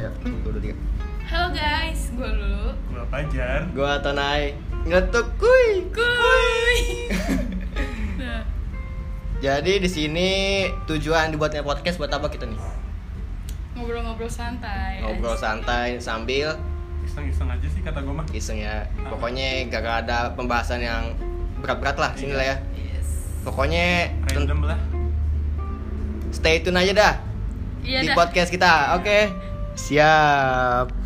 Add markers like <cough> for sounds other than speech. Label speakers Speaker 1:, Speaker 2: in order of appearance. Speaker 1: Ya,
Speaker 2: Pajar
Speaker 1: Gua Tonai ngetuk kuy. <laughs>
Speaker 3: Kuy. nah,
Speaker 1: Jadi di sini tujuan dibuatnya podcast buat apa kita nih?
Speaker 3: ngobrol-ngobrol santai.
Speaker 1: Ngobrol
Speaker 3: asik.
Speaker 1: santai sambil
Speaker 2: Iseng-iseng aja sih kata gue mah
Speaker 1: iseng ya.
Speaker 3: Ah.
Speaker 1: Pokoknya gak ada pembahasan yang berat-berat lah sini
Speaker 3: Iya.
Speaker 1: lah ya.
Speaker 3: Yes.
Speaker 1: Pokoknya ten-
Speaker 2: Random lah
Speaker 1: stay tune aja dah
Speaker 3: Iya
Speaker 1: di
Speaker 3: dah. Iya.
Speaker 1: podcast kita. Oke. Siap.